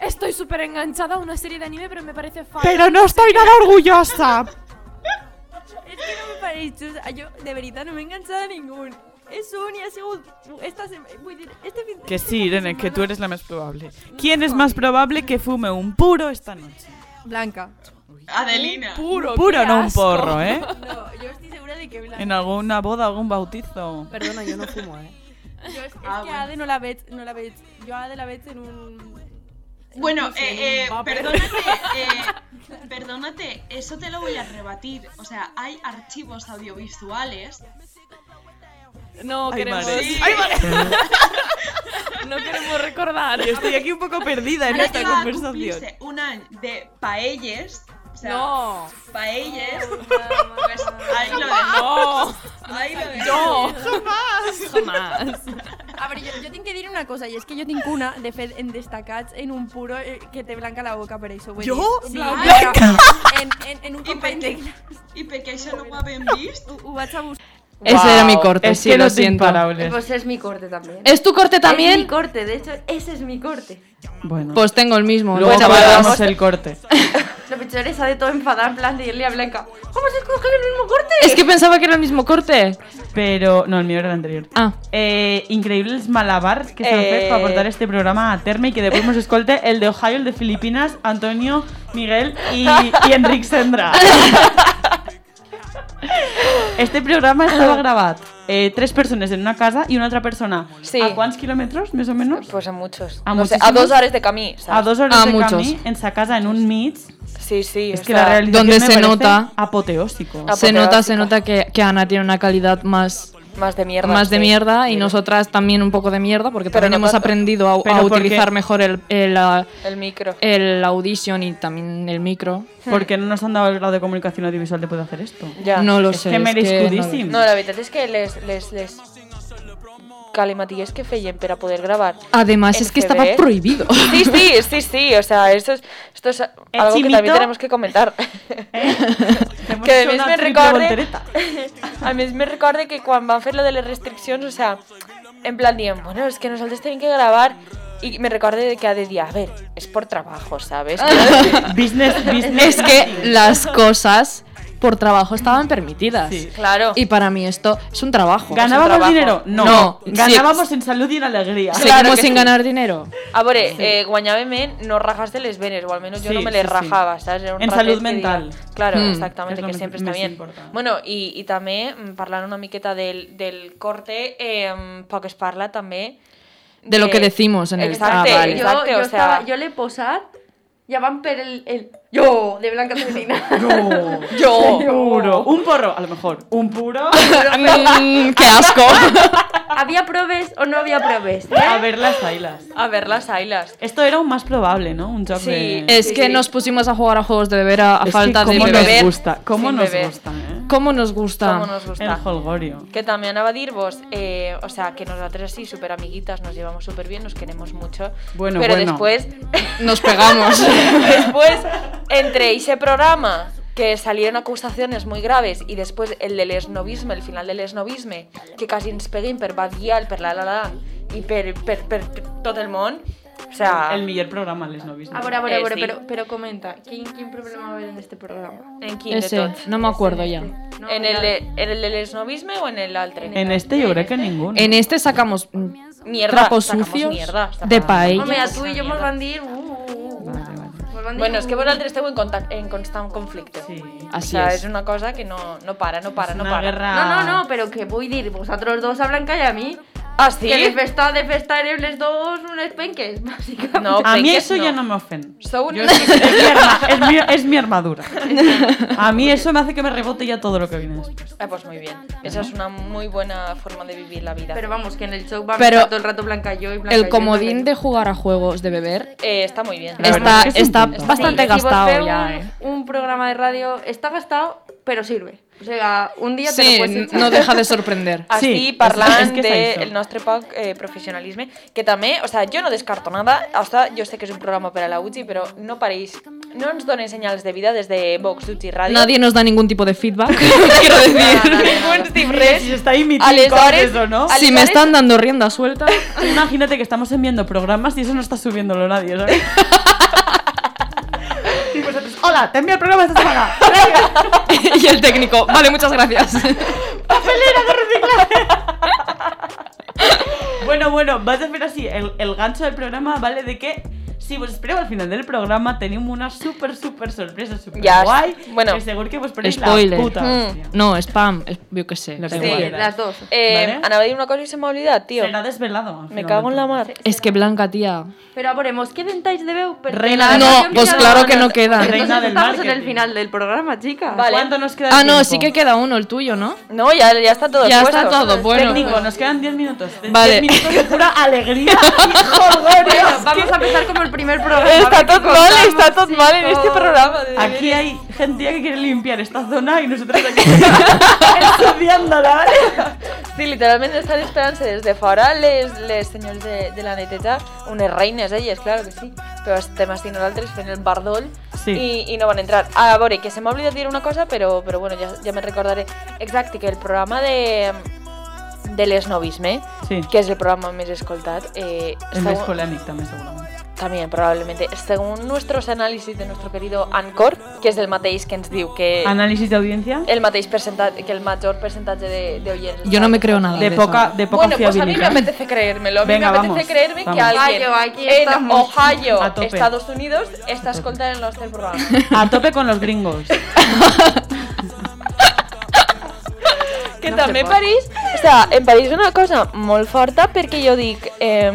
[SPEAKER 8] Estoy súper enganchada a una serie de anime, pero me parece falso.
[SPEAKER 2] <laughs> Pero no estoy nada orgullosa.
[SPEAKER 7] Es que no me paréis chusa. Yo de verdad no me he enganchado a ningún. Es un y ha sido. Esta sema- vull dir, este fin
[SPEAKER 5] Que sí, Irene, que tú eres la más probable. ¿Quién es más probable que fume un puro esta noche?
[SPEAKER 8] Blanca.
[SPEAKER 5] Adelina.
[SPEAKER 8] Puro.
[SPEAKER 5] Puro,
[SPEAKER 8] qué
[SPEAKER 5] no un
[SPEAKER 8] asco.
[SPEAKER 5] porro, ¿eh?
[SPEAKER 7] No, yo estoy segura de que Blanca.
[SPEAKER 5] En alguna boda, algún bautizo.
[SPEAKER 8] Perdona, yo no fumo, eh.
[SPEAKER 7] Yo es, es que a Ade no la veig, no la veig. Yo a Ade la veig en un.
[SPEAKER 9] Bueno,
[SPEAKER 8] sé,
[SPEAKER 9] eh, eh,
[SPEAKER 8] un vapor. <laughs>
[SPEAKER 9] perdónate, eh, perdónate, eso te lo voy a rebatir. O sea, hay archivos audiovisuales.
[SPEAKER 8] No
[SPEAKER 5] Ay,
[SPEAKER 8] queremos.
[SPEAKER 5] madre.
[SPEAKER 8] No queremos recordar.
[SPEAKER 5] Yo estoy aquí un poco perdida en
[SPEAKER 9] Ahora
[SPEAKER 5] esta
[SPEAKER 9] que va a
[SPEAKER 5] conversación.
[SPEAKER 9] cumplirse una plan de paelles. O
[SPEAKER 8] <laughs>
[SPEAKER 9] sea,
[SPEAKER 8] No.
[SPEAKER 9] Paelles. Pues ahí lo ves.
[SPEAKER 8] <laughs> No.
[SPEAKER 9] Ahí lo ves.
[SPEAKER 8] No.
[SPEAKER 5] Jamás.
[SPEAKER 1] A veure, jo, jo tinc que dir una cosa, i és que jo tinc una, de fet, en destacats, en un puro eh, que té blanca la boca per això. Jo? Sí, blanca! En, en, en un
[SPEAKER 9] I
[SPEAKER 1] company de...
[SPEAKER 9] perquè, I perquè això no ho havien vist.
[SPEAKER 1] Ho, ho vaig a buscar.
[SPEAKER 3] Ese era mi corte,
[SPEAKER 2] es
[SPEAKER 3] sí,
[SPEAKER 2] que
[SPEAKER 3] lo
[SPEAKER 2] no te
[SPEAKER 3] siento.
[SPEAKER 2] imparables.
[SPEAKER 1] Pues es mi corte también.
[SPEAKER 3] ¿Es tu corte
[SPEAKER 1] Es mi
[SPEAKER 3] también?
[SPEAKER 1] corte, de hecho, ese es mi corte.
[SPEAKER 2] Bueno,
[SPEAKER 3] Pues tengo el mismo.
[SPEAKER 2] luego
[SPEAKER 3] Pues,
[SPEAKER 2] guardamos el corte.
[SPEAKER 1] Lo peor es de todo enfadada en plan de irle a Blanca. ¡Vamos a escoger el mismo corte!
[SPEAKER 3] Es que pensaba que era el mismo corte.
[SPEAKER 2] Pero, no, el mío era el anterior.
[SPEAKER 3] Ah.
[SPEAKER 2] Eh, increïbles malabars que s'han
[SPEAKER 4] Eh.
[SPEAKER 2] fet per portar este programa a terme i que després mos escolte el de Ohio, el de Filipinas, Antonio, Miguel i, i Enric Sendra. Este programa estava gravat eh, tres persones en una casa i una altra persona.
[SPEAKER 4] Sí.
[SPEAKER 2] ¿A quants quilòmetres, més o menys?
[SPEAKER 4] Pues a muchos.
[SPEAKER 2] A
[SPEAKER 4] No sé, a
[SPEAKER 2] muchísimos.
[SPEAKER 4] dos horas de camí, ¿sabes?
[SPEAKER 2] A dos hores
[SPEAKER 3] A
[SPEAKER 2] de camí,
[SPEAKER 3] muchos.
[SPEAKER 2] en sa casa, en un mig.
[SPEAKER 4] Sí, sí.
[SPEAKER 2] És
[SPEAKER 4] o
[SPEAKER 2] que la
[SPEAKER 4] sea,
[SPEAKER 2] realización
[SPEAKER 3] Donde
[SPEAKER 2] me
[SPEAKER 3] se
[SPEAKER 2] parece
[SPEAKER 3] nota.
[SPEAKER 2] apoteósico.
[SPEAKER 4] Ah,
[SPEAKER 3] Se nota, se
[SPEAKER 4] Apoteósica.
[SPEAKER 3] nota que, que Ana tiene una calidad más,
[SPEAKER 4] Más de mierda.
[SPEAKER 3] más de
[SPEAKER 4] sí.
[SPEAKER 3] mierda y
[SPEAKER 4] Mira.
[SPEAKER 3] nosotras también un poco de mierda porque
[SPEAKER 4] Pero
[SPEAKER 3] también
[SPEAKER 4] no
[SPEAKER 3] hemos
[SPEAKER 4] tanto.
[SPEAKER 3] aprendido a- a,
[SPEAKER 2] Pero porque-
[SPEAKER 3] utilizar mejor el, el, ah,
[SPEAKER 4] El micro.
[SPEAKER 3] el audition y también el micro.
[SPEAKER 2] Porque no nos han dado el grado de comunicación audiovisual de poder hacer esto.
[SPEAKER 4] Ya.
[SPEAKER 3] No lo
[SPEAKER 2] Es
[SPEAKER 3] sé.
[SPEAKER 2] que
[SPEAKER 3] es
[SPEAKER 2] merescudíssim.
[SPEAKER 4] No, la veritat és que les... les, les calimaties que feien per a poder gravar.
[SPEAKER 3] no- Además,
[SPEAKER 4] En
[SPEAKER 3] es que
[SPEAKER 4] CB.
[SPEAKER 3] estaba prohibido.
[SPEAKER 4] Sí, sí, sí, sí, o sea, esto es, esto es algo que
[SPEAKER 2] chimito.
[SPEAKER 4] también tenemos que comentar.
[SPEAKER 2] Eh, Hemos
[SPEAKER 4] que a
[SPEAKER 2] hecho
[SPEAKER 4] més
[SPEAKER 2] una
[SPEAKER 4] me
[SPEAKER 2] triple
[SPEAKER 4] recorde...
[SPEAKER 2] voltereta.
[SPEAKER 4] <laughs> A més me recorde que quan van fer lo de les restriccions, o sea, en plan dient, bueno, és que nosaltres tenim que gravar i me recorde de que ha de dir, a ver, és por trabajo, ¿sabes? <laughs>
[SPEAKER 2] Business, business.
[SPEAKER 3] <laughs> es que las cosas por trabajo estaban permitidas.
[SPEAKER 2] Sí.
[SPEAKER 4] claro.
[SPEAKER 3] Y para mí esto es un trabajo.
[SPEAKER 2] ¿Ganábamos
[SPEAKER 4] trabajo.
[SPEAKER 2] dinero? No.
[SPEAKER 3] No.
[SPEAKER 2] Ganábamos en salud y en alegría.
[SPEAKER 3] Seguimos
[SPEAKER 4] Claro que
[SPEAKER 3] sin
[SPEAKER 4] sí.
[SPEAKER 3] ganar dinero.
[SPEAKER 4] A veure, eh, guanyàvem en no rajas de les venes, o almenys jo
[SPEAKER 2] Sí,
[SPEAKER 4] no me les
[SPEAKER 2] sí, sí.
[SPEAKER 4] rajava, saps? Era un
[SPEAKER 2] En
[SPEAKER 4] ratet
[SPEAKER 2] salut
[SPEAKER 4] que
[SPEAKER 2] mental.
[SPEAKER 4] diga- Claro,
[SPEAKER 3] Mm.
[SPEAKER 2] És
[SPEAKER 4] exactamente,
[SPEAKER 2] lo
[SPEAKER 4] que
[SPEAKER 2] més-
[SPEAKER 4] sempre està
[SPEAKER 2] més
[SPEAKER 4] bien.
[SPEAKER 2] important.
[SPEAKER 4] Bueno, i, i també mm, parlant una miqueta del, del corte, eh, poc es parla també...
[SPEAKER 3] De lo que
[SPEAKER 4] Eh,
[SPEAKER 3] decimos en el-
[SPEAKER 4] Exacte,
[SPEAKER 3] Ah, vale.
[SPEAKER 4] exacte,
[SPEAKER 1] yo,
[SPEAKER 4] o
[SPEAKER 1] yo
[SPEAKER 4] sea...
[SPEAKER 1] estaba, yo le he posado, ya van per el, el yo de Blanca Celina.
[SPEAKER 3] <laughs>
[SPEAKER 2] No.
[SPEAKER 4] Yo.
[SPEAKER 2] Puro. Un porro, a lo mejor. Un puro. <laughs>
[SPEAKER 3] Mm, ¡Qué asco!
[SPEAKER 1] ¿Había probes o no
[SPEAKER 3] <laughs>
[SPEAKER 1] había probes?
[SPEAKER 3] Eh,
[SPEAKER 2] A ver las ailas.
[SPEAKER 4] A ver las ailas.
[SPEAKER 2] Esto era un más probable, ¿no? Un job
[SPEAKER 4] <laughs> Sí,
[SPEAKER 2] de...
[SPEAKER 3] es
[SPEAKER 4] Sí,
[SPEAKER 3] que
[SPEAKER 4] sí.
[SPEAKER 3] nos pusimos a jugar a juegos de beber a, a
[SPEAKER 2] Es que
[SPEAKER 3] falta de
[SPEAKER 2] cómo
[SPEAKER 3] beber.
[SPEAKER 2] nos
[SPEAKER 4] beber.
[SPEAKER 2] gusta. ¿Cómo
[SPEAKER 4] Sin
[SPEAKER 2] nos
[SPEAKER 4] beber.
[SPEAKER 2] gusta, eh?
[SPEAKER 3] ¿Cómo nos gusta?
[SPEAKER 4] Como nos gusta.
[SPEAKER 2] El holgorio.
[SPEAKER 4] Que también anava a dir-vos, eh, o sea, que nosotras sí, súper amiguitas, nos llevamos súper bien, nos queremos mucho.
[SPEAKER 2] Bueno,
[SPEAKER 4] pero
[SPEAKER 2] bueno.
[SPEAKER 4] después,
[SPEAKER 3] Nos pegamos. <laughs>
[SPEAKER 4] después, entre ese programa que salieron acusaciones muy graves y después el del esnovisme, el final del esnovisme, que casi ens peguen per Bad Gyal, per la la la y per, per, per tot el món, o sea,
[SPEAKER 2] El mejor programa, les no viste.
[SPEAKER 1] Ahora, ahora,
[SPEAKER 4] Eh,
[SPEAKER 1] ahora,
[SPEAKER 4] sí.
[SPEAKER 1] pero, pero comenta, ¿quién, ¿quién problema va a haber en este programa? Este,
[SPEAKER 4] en quin de
[SPEAKER 3] Ese,
[SPEAKER 4] tot.
[SPEAKER 3] no me acuerdo ya.
[SPEAKER 1] No,
[SPEAKER 4] en, el, de- en el del esnovisme o en el altre?
[SPEAKER 2] En este yo creo que ninguno.
[SPEAKER 3] En este sacamos mm,
[SPEAKER 4] mierda,
[SPEAKER 3] trapos
[SPEAKER 4] sacamos
[SPEAKER 3] sucios
[SPEAKER 4] mierda,
[SPEAKER 3] de
[SPEAKER 4] sacamos-
[SPEAKER 1] Hombre, a
[SPEAKER 3] paellas.
[SPEAKER 1] tú y yo me van a decir, uh, uh, uh,
[SPEAKER 2] Vale, vale.
[SPEAKER 1] mos van dir,
[SPEAKER 4] Bueno, és que
[SPEAKER 1] uh.
[SPEAKER 4] vosaltres esteu en, contact, en constant conflicte.
[SPEAKER 2] Sí.
[SPEAKER 4] O
[SPEAKER 3] Así
[SPEAKER 4] sea, és
[SPEAKER 3] es.
[SPEAKER 4] una cosa que no, no para, no para,
[SPEAKER 2] Es
[SPEAKER 4] no
[SPEAKER 2] una
[SPEAKER 4] para.
[SPEAKER 2] guerra...
[SPEAKER 1] No, no, no, pero que voy a decir vosotros dos a Blanca y a mí.
[SPEAKER 4] Ah, sí?
[SPEAKER 1] Que de festa, de festa eres les dos unes penques, <laughs> básicamente.
[SPEAKER 4] No,
[SPEAKER 2] <laughs> A mí
[SPEAKER 4] penques
[SPEAKER 2] eso ya no me ofende.
[SPEAKER 4] Sou un...
[SPEAKER 2] Yo es, que- es mi arma- es mi, es mi armadura. A mí eso me hace que me rebote ya todo lo que viene después.
[SPEAKER 4] <laughs> Ah, pues muy bien. Esa es una muy buena forma de vivir la vida.
[SPEAKER 1] Pero vamos, que en el show va
[SPEAKER 3] Pero
[SPEAKER 1] a estar todo el rato Blanca y yo y Blanca
[SPEAKER 3] El comodín de jugar a juegos de beber
[SPEAKER 4] Eh, está muy bien.
[SPEAKER 2] La verdad
[SPEAKER 3] está,
[SPEAKER 2] es que es un
[SPEAKER 3] está
[SPEAKER 2] punto.
[SPEAKER 3] bastante gastado ya, eh.
[SPEAKER 1] Un, un programa de radio está gastado, pero sirve. O sea, un día te
[SPEAKER 3] Sí,
[SPEAKER 1] lo puedes echar.
[SPEAKER 3] no deja de
[SPEAKER 4] <laughs>
[SPEAKER 3] sorprender.
[SPEAKER 4] Així,
[SPEAKER 2] Sí,
[SPEAKER 4] sí, parlant
[SPEAKER 2] és- és que és
[SPEAKER 4] del
[SPEAKER 2] això.
[SPEAKER 4] de el nostre poc eh, professionalisme, que també, o sea, jo no descarto nada, hasta jo sé que és un programa per a la UCI, però no pareix, no ens donen senyals de vida des de Vox, UCI, Ràdio.
[SPEAKER 3] Nadie nos da ningún tipo de feedback, <laughs> quiero decir. <laughs>
[SPEAKER 4] Ningú ens diu
[SPEAKER 2] Mira,
[SPEAKER 4] res.
[SPEAKER 2] Si está imitando
[SPEAKER 4] Aleshores-
[SPEAKER 2] eso, ¿no?
[SPEAKER 4] al-
[SPEAKER 3] Si me están dando rienda suelta, <laughs>
[SPEAKER 2] Tú Imagínate que estamos enviando programas y eso no está subiéndolo nadie, ¿sabes? Y vosotros, Hola, te envío el programa esta semana.
[SPEAKER 3] y el técnico, vale, muchas gracias. <laughs>
[SPEAKER 2] Bueno, bueno, vas a hacer así. El, el gancho del programa, ¿vale? De que si vos espereu al final del programa tenemos una súper, súper sorpresa, súper
[SPEAKER 4] Ya,
[SPEAKER 2] guay.
[SPEAKER 4] bueno.
[SPEAKER 2] que seguro que vos ponéis
[SPEAKER 3] Spoiler.
[SPEAKER 2] la puta
[SPEAKER 4] Mm.
[SPEAKER 2] hostia.
[SPEAKER 3] No, spam, es- yo qué sé.
[SPEAKER 2] Lo
[SPEAKER 3] da
[SPEAKER 2] que
[SPEAKER 3] igual.
[SPEAKER 1] Sí,
[SPEAKER 2] quieras.
[SPEAKER 1] las dos.
[SPEAKER 4] Eh,
[SPEAKER 2] Vale.
[SPEAKER 4] Anava a dir una cosa i se m'ha oblidat, tio.
[SPEAKER 2] Será desvelado. al
[SPEAKER 4] Me
[SPEAKER 2] final
[SPEAKER 4] cago en
[SPEAKER 2] del
[SPEAKER 4] la
[SPEAKER 2] programa.
[SPEAKER 4] mar.
[SPEAKER 3] Es que Blanca, tía.
[SPEAKER 1] Pero ahora, ¿mos qué dentáis de veu? Porque
[SPEAKER 2] Reina
[SPEAKER 1] la
[SPEAKER 2] del-
[SPEAKER 1] radio
[SPEAKER 3] No,
[SPEAKER 1] empieza
[SPEAKER 3] pues
[SPEAKER 1] a las
[SPEAKER 3] claro
[SPEAKER 1] dos.
[SPEAKER 3] que no queda.
[SPEAKER 1] Entonces
[SPEAKER 2] Reina del
[SPEAKER 1] estamos en el
[SPEAKER 2] marketing.
[SPEAKER 1] final del programa, chicas.
[SPEAKER 4] Vale.
[SPEAKER 2] ¿Cuánto nos queda? de
[SPEAKER 3] Ah, no,
[SPEAKER 2] tiempo?
[SPEAKER 3] sí que queda uno, el tuyo, ¿no?
[SPEAKER 4] No, ya, ya está todo
[SPEAKER 3] Ya
[SPEAKER 4] expuesto.
[SPEAKER 3] está todo, bueno.
[SPEAKER 2] Técnico, nos quedan 10 minutos. De-
[SPEAKER 3] Vale.
[SPEAKER 2] 10 minutos de pura alegría.
[SPEAKER 1] Bueno, vamos a empezar como el primer
[SPEAKER 3] <laughs>
[SPEAKER 1] programa.
[SPEAKER 4] Está
[SPEAKER 1] que
[SPEAKER 4] todo mal,
[SPEAKER 1] contamos,
[SPEAKER 4] está todo mal en este
[SPEAKER 1] chicos.
[SPEAKER 4] programa. de
[SPEAKER 2] Aquí
[SPEAKER 4] veras.
[SPEAKER 2] hay gente que quiere limpiar esta zona y nosotros aquí <laughs> estudiándola, ¿vale?
[SPEAKER 4] Sí, literalmente estan esperant-se des de fora les, les senyors de, de la neteta, unes reines elles, claro que sí, però estem així nosaltres fent el bardoll
[SPEAKER 2] Sí.
[SPEAKER 4] i, i no van entrar. A veure, que se m'ha oblidat dir una cosa, però, però bueno, ja, ja me'n recordaré. Exacte, que el programa de, de l'esnovisme,
[SPEAKER 2] Sí.
[SPEAKER 4] que és el programa més escoltat, eh,
[SPEAKER 2] El més
[SPEAKER 4] segon-
[SPEAKER 2] polèmic també, segurament.
[SPEAKER 4] También, probablemente. Según nuestros análisis de nuestro querido Anchor, que es del mateix que ens diu que
[SPEAKER 2] Anàlisi d'audiència?
[SPEAKER 4] el mateix percentatge, que el major percentatge de, de oients...
[SPEAKER 3] Yo no me creo nada.
[SPEAKER 2] De
[SPEAKER 3] de
[SPEAKER 2] poca,
[SPEAKER 3] eso.
[SPEAKER 2] de poca
[SPEAKER 4] Bueno, pues a mí me
[SPEAKER 2] fiabilidad.
[SPEAKER 4] apetece creérmelo. A mí
[SPEAKER 2] Venga,
[SPEAKER 4] me apetece
[SPEAKER 2] vamos,
[SPEAKER 4] creerme que
[SPEAKER 2] vamos.
[SPEAKER 4] alguien
[SPEAKER 1] Ohio, aquí
[SPEAKER 4] en
[SPEAKER 3] oh.
[SPEAKER 1] estamos.
[SPEAKER 4] Ohio,
[SPEAKER 2] A tope.
[SPEAKER 4] Estados Unidos, está escoltando el
[SPEAKER 2] <laughs>
[SPEAKER 4] nuestro programa.
[SPEAKER 2] <laughs> A tope con los gringos.
[SPEAKER 4] que també París... O sea, en París és una cosa molt forta perquè jo dic... Eh,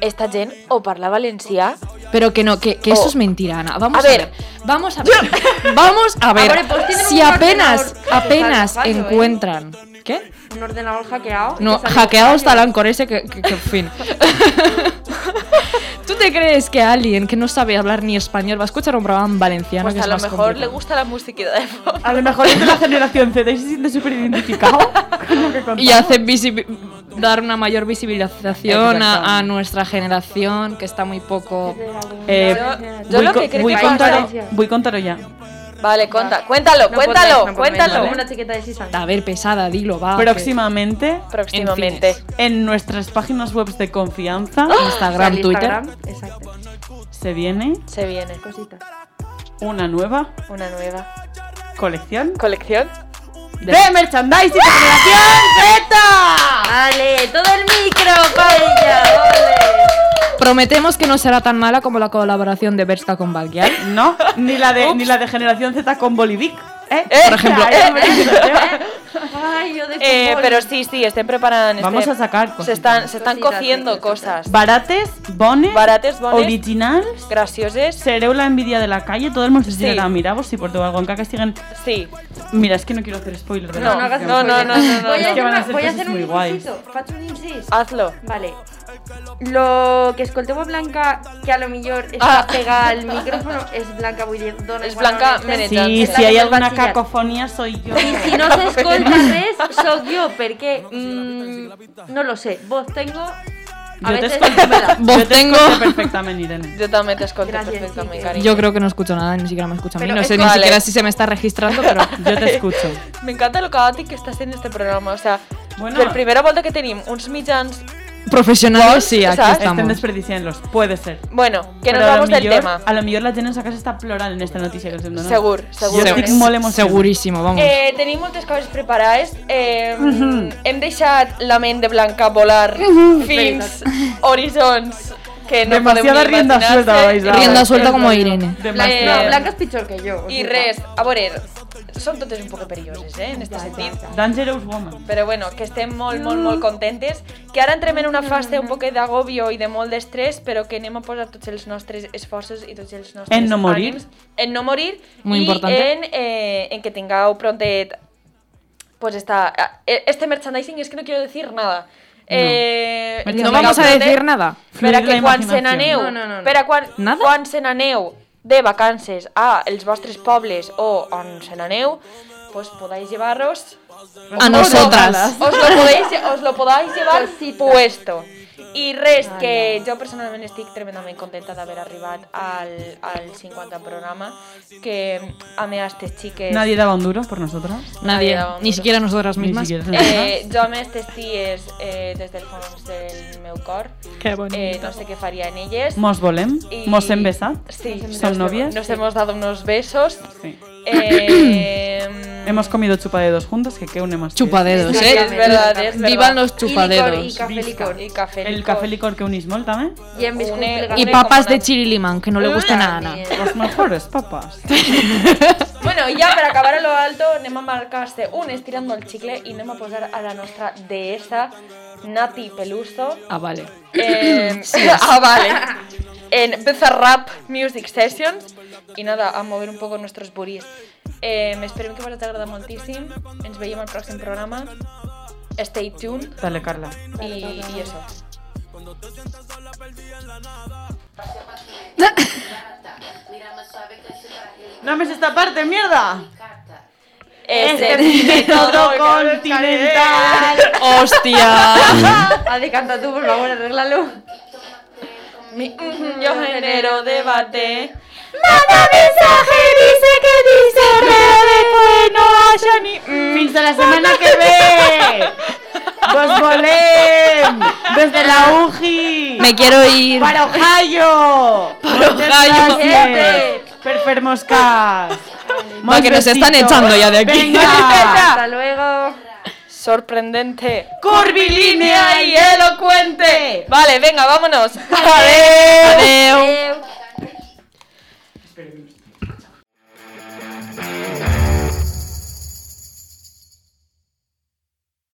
[SPEAKER 4] esta gent o parla valencià...
[SPEAKER 3] Pero que no, que, que
[SPEAKER 4] Oh.
[SPEAKER 3] eso es mentira, Ana. Vamos
[SPEAKER 4] A
[SPEAKER 3] a,
[SPEAKER 4] ver.
[SPEAKER 3] ver. Vamos a ver.
[SPEAKER 4] <laughs>
[SPEAKER 3] Vamos a ver.
[SPEAKER 1] Ahora, pues, tienen
[SPEAKER 3] si
[SPEAKER 1] un
[SPEAKER 3] apenas,
[SPEAKER 1] ordenador
[SPEAKER 3] apenas
[SPEAKER 1] falso, ¿eh?
[SPEAKER 3] encuentran. ¿Qué?
[SPEAKER 1] Un ordenador hackeado. y
[SPEAKER 3] No,
[SPEAKER 1] que sale
[SPEAKER 3] hackeado
[SPEAKER 1] un
[SPEAKER 3] está el
[SPEAKER 1] fallo.
[SPEAKER 3] Anchor ese que, que, que, en fin. <laughs> ¿Tú te crees que alguien que no sabe hablar ni español va a escuchar un programa en valenciano?
[SPEAKER 4] Pues
[SPEAKER 3] que
[SPEAKER 4] a
[SPEAKER 3] es
[SPEAKER 4] lo
[SPEAKER 3] más
[SPEAKER 4] mejor le
[SPEAKER 3] complicado?
[SPEAKER 4] gusta la musiquita de fondo.
[SPEAKER 2] A lo mejor es de la generación Z y se siente súper <laughs> identificado con lo que contamos.
[SPEAKER 3] Y hace visi- dar una mayor visibilización a, a
[SPEAKER 2] Exactamente.
[SPEAKER 3] nuestra generación que está muy poco.
[SPEAKER 2] Eh,
[SPEAKER 4] Yo
[SPEAKER 2] voy
[SPEAKER 4] lo
[SPEAKER 2] co-
[SPEAKER 4] que creo
[SPEAKER 2] voy
[SPEAKER 4] que
[SPEAKER 2] contar-
[SPEAKER 1] pasa-
[SPEAKER 2] voy contarlo ya.
[SPEAKER 4] <laughs> Vale, conta, cuéntalo,
[SPEAKER 1] No
[SPEAKER 4] cuéntalo,
[SPEAKER 1] podéis, no podéis,
[SPEAKER 4] cuéntalo.
[SPEAKER 1] ¿vale? Una chiqueta de sisal.
[SPEAKER 3] A ver, pesada, dilo, va. que-
[SPEAKER 2] Próximamente,
[SPEAKER 4] Próximamente.
[SPEAKER 3] En fines.
[SPEAKER 2] en nuestras páginas web de confianza,
[SPEAKER 3] <laughs>
[SPEAKER 1] Sale
[SPEAKER 2] Instagram, Twitter,
[SPEAKER 1] Instagram, Exacto.
[SPEAKER 2] se viene
[SPEAKER 4] Se viene
[SPEAKER 1] Cositas.
[SPEAKER 2] una nueva
[SPEAKER 4] una nueva
[SPEAKER 2] colección
[SPEAKER 4] colección.
[SPEAKER 2] de, merchandising de generación Z.
[SPEAKER 1] Vale, todo el micro para ella. ole.
[SPEAKER 3] Prometemos que no será tan mala como la colaboración de Berska con Valkyar.
[SPEAKER 2] No, ni la de, ni la de generación Z con Bolivic. ¿eh?
[SPEAKER 4] Eh,
[SPEAKER 2] Por ejemplo,
[SPEAKER 1] Ay, yo de
[SPEAKER 4] <laughs> Eh,
[SPEAKER 1] fútbol.
[SPEAKER 4] pero sí, sí, estén preparando.
[SPEAKER 2] Vamos a sacar
[SPEAKER 4] Se
[SPEAKER 2] cositas.
[SPEAKER 4] están, se están
[SPEAKER 1] Cositas,
[SPEAKER 4] cociendo
[SPEAKER 1] sí,
[SPEAKER 4] cosas.
[SPEAKER 2] barates, bones,
[SPEAKER 4] Barates, bones.
[SPEAKER 2] originals,
[SPEAKER 4] Gracioses.
[SPEAKER 2] sereu la envidia de la calle, todo el mundo se "Ah,
[SPEAKER 4] Sí.
[SPEAKER 2] tirará a miraros si por algo en caca siguen...
[SPEAKER 4] Sí.
[SPEAKER 2] Mira, es que no quiero hacer spoiler,
[SPEAKER 4] No,
[SPEAKER 2] ¿verdad?
[SPEAKER 4] no,
[SPEAKER 1] hagas
[SPEAKER 4] no, no, no, no,
[SPEAKER 1] Voy a
[SPEAKER 2] Es que
[SPEAKER 1] hacer,
[SPEAKER 2] van a
[SPEAKER 1] una-
[SPEAKER 2] ser
[SPEAKER 1] voy a
[SPEAKER 2] cosas
[SPEAKER 1] hacer un
[SPEAKER 2] muy Ah. guys.
[SPEAKER 1] incisito. Facho un incis.
[SPEAKER 4] Hazlo.
[SPEAKER 1] Vale. Lo que escolteu a Blanca, que a lo millor está
[SPEAKER 4] Ah.
[SPEAKER 1] pegada al micrófono, es Blanca Bulledona.
[SPEAKER 4] És Blanca
[SPEAKER 2] Sí,
[SPEAKER 4] Exacte.
[SPEAKER 2] si
[SPEAKER 4] És
[SPEAKER 2] hay alguna cacofonía soy
[SPEAKER 4] <laughs>
[SPEAKER 2] yo. <laughs>
[SPEAKER 1] Y si no se escolta res, soy yo, porque mm, no lo sé. Vos tengo... A
[SPEAKER 2] Yo te
[SPEAKER 1] veces
[SPEAKER 2] escolto-
[SPEAKER 1] me
[SPEAKER 2] <laughs>
[SPEAKER 1] da.
[SPEAKER 2] Yo te
[SPEAKER 3] Vos tengo-
[SPEAKER 2] escolto perfectamente, Irene.
[SPEAKER 4] Yo también te escolto
[SPEAKER 1] Gracias,
[SPEAKER 4] perfectamente,
[SPEAKER 1] sí,
[SPEAKER 4] cariño.
[SPEAKER 3] Yo creo que no escucho nada, ni siquiera me escucha a mí.
[SPEAKER 1] Pero
[SPEAKER 3] no sé
[SPEAKER 1] es
[SPEAKER 3] ni
[SPEAKER 4] que-
[SPEAKER 3] siquiera
[SPEAKER 4] Vale.
[SPEAKER 3] si se me está registrando,
[SPEAKER 4] <laughs>
[SPEAKER 3] pero
[SPEAKER 2] Yo te escucho.
[SPEAKER 4] Me encanta lo caótico que estás en este programa. O sea,
[SPEAKER 2] Bueno.
[SPEAKER 4] per primera volta que tenim uns mitjans...
[SPEAKER 3] profesionales sí, aquí
[SPEAKER 4] ¿Sabes?
[SPEAKER 2] Estén
[SPEAKER 3] estamos.
[SPEAKER 2] desperdiciándolos, puede ser.
[SPEAKER 4] Bueno, que
[SPEAKER 2] Pero
[SPEAKER 4] nos
[SPEAKER 2] a lo
[SPEAKER 4] vamos del
[SPEAKER 2] millor-
[SPEAKER 4] tema.
[SPEAKER 2] A lo mejor la gent en sa casa está plural en esta noticia que os hem donat.
[SPEAKER 4] Segur, segur.
[SPEAKER 2] Jo estic molt emocionada.
[SPEAKER 3] Segurísimo, vamos.
[SPEAKER 4] Eh, tenim moltes coses preparades. Eh,
[SPEAKER 2] Mhm.
[SPEAKER 4] Hem deixat la ment de Blanca volar fins horitzons que no
[SPEAKER 2] Demasiada
[SPEAKER 4] podem ni
[SPEAKER 2] rienda
[SPEAKER 4] imaginar-se.
[SPEAKER 2] suelta vais Em a-
[SPEAKER 3] Rienda suelta como Irene.
[SPEAKER 1] Blanca,
[SPEAKER 4] Eh,
[SPEAKER 1] no,
[SPEAKER 2] <laughs>
[SPEAKER 1] Blanca es pichor que yo. o
[SPEAKER 4] I
[SPEAKER 1] sea,
[SPEAKER 4] res, a veure, són totes un poc perilloses, eh, en este sentit.
[SPEAKER 2] Dangerous Woman.
[SPEAKER 4] Però bueno, que estem molt, molt, molt contentes, que ara entrem en una fase un poc d'agobio i de molt d'estrès, però que anem a posar tots els nostres esforços i tots els nostres
[SPEAKER 2] En no morir.
[SPEAKER 4] ànims en no morir
[SPEAKER 3] Muy
[SPEAKER 4] i
[SPEAKER 3] importante.
[SPEAKER 4] en, eh, en que tingueu prontet pues esta, eh, este merchandising, es que no quiero decir nada. Eh, que
[SPEAKER 3] No
[SPEAKER 4] tingueu
[SPEAKER 3] vamos a
[SPEAKER 4] prontet
[SPEAKER 3] decir nada.
[SPEAKER 4] per a
[SPEAKER 2] Fluir
[SPEAKER 4] que
[SPEAKER 2] la
[SPEAKER 4] quan se
[SPEAKER 2] imaginació.
[SPEAKER 4] n'aneu,
[SPEAKER 1] No, no, no, no.
[SPEAKER 4] per a quan,
[SPEAKER 3] Nada?
[SPEAKER 4] quan se n'aneu de vacances a els vostres pobles o on se n'aneu, pues podáis llevaros
[SPEAKER 3] A nosotras.
[SPEAKER 4] os lo podéis, os lo podáis llevar
[SPEAKER 1] Cosita.
[SPEAKER 4] puesto. I res, que jo personalment estic tremendament contenta d'haver arribat al, al 50 programa, que a més aquestes xiques...
[SPEAKER 2] Nadie daba un duro por nosotros.
[SPEAKER 3] Nadie,
[SPEAKER 4] Nadie,
[SPEAKER 3] ni siquiera nosotras
[SPEAKER 2] Ni
[SPEAKER 3] mismas.
[SPEAKER 2] siquiera.
[SPEAKER 4] Eh, jo amb aquestes ties eh, des del fons del meu cor,
[SPEAKER 3] Qué
[SPEAKER 4] eh, no sé què faria en elles.
[SPEAKER 2] Mos volem,
[SPEAKER 4] I-
[SPEAKER 2] mos hem besat.
[SPEAKER 4] Sí,
[SPEAKER 2] ¿Son
[SPEAKER 4] nos
[SPEAKER 2] novias?
[SPEAKER 4] hemos- Nos hemos dado
[SPEAKER 2] <clears throat>
[SPEAKER 4] unos besos.
[SPEAKER 2] Sí.
[SPEAKER 4] Eh,
[SPEAKER 2] Hemos comido chupadedos juntos, que qué une más. que-
[SPEAKER 3] Chupadedos,
[SPEAKER 4] Sí,
[SPEAKER 3] eh.
[SPEAKER 4] es verdad, es verdad.
[SPEAKER 3] Vivan los
[SPEAKER 1] Y licor, y
[SPEAKER 3] chupadedos.
[SPEAKER 1] café licor.
[SPEAKER 4] Y café
[SPEAKER 2] El
[SPEAKER 4] licor.
[SPEAKER 2] café licor que unís molt, también.
[SPEAKER 1] Y en biscuit
[SPEAKER 4] Une-
[SPEAKER 1] legal.
[SPEAKER 3] Y
[SPEAKER 4] Hombre,
[SPEAKER 3] papas
[SPEAKER 4] como
[SPEAKER 3] de
[SPEAKER 4] la-
[SPEAKER 3] chirilimán, que no le gustan a Ana.
[SPEAKER 1] También.
[SPEAKER 2] Los mejores papas.
[SPEAKER 4] Bueno, i ja per acabar a lo alto anem a marcar-se un estirando el xicle i anem a posar pues a la nostra deessa Nati Peluso
[SPEAKER 2] <clears throat>
[SPEAKER 3] Ah, vale.
[SPEAKER 4] eh, <laughs> ah, vale. en Bizarrap Music Sessions i nada, a mover un poco nuestros buris eh, esperem que vos hagi agradat moltíssim ens veiem al pròxim programa stay tuned
[SPEAKER 2] Dale, Carla.
[SPEAKER 4] i, i això
[SPEAKER 10] Cuando te sientas sola, perdida en la nada.
[SPEAKER 2] No me es esta parte, mierda.
[SPEAKER 4] Este
[SPEAKER 2] <laughs> pibe todo continental.
[SPEAKER 4] ¡Hostia!
[SPEAKER 1] Adi, canta tú, por favor, arréglalo.
[SPEAKER 4] Mi- <laughs> yo genero debate.
[SPEAKER 2] Manda mensaje, dice que dice, pero después no haya ni. Mm, Fins a la semana que <laughs> ve. Vos volem desde la UGI.
[SPEAKER 3] Me quiero ir.
[SPEAKER 2] Para Ohio. Para
[SPEAKER 3] Ohio.
[SPEAKER 2] Perfermoscas.
[SPEAKER 3] Va, que nos están echando ya de aquí. <laughs>
[SPEAKER 2] Venga.
[SPEAKER 1] Hasta luego.
[SPEAKER 4] Sorprendente.
[SPEAKER 2] Curvilínea y elocuente.
[SPEAKER 4] Vale, venga, vámonos.
[SPEAKER 2] Adeu.
[SPEAKER 4] Adeu.
[SPEAKER 1] Adeu.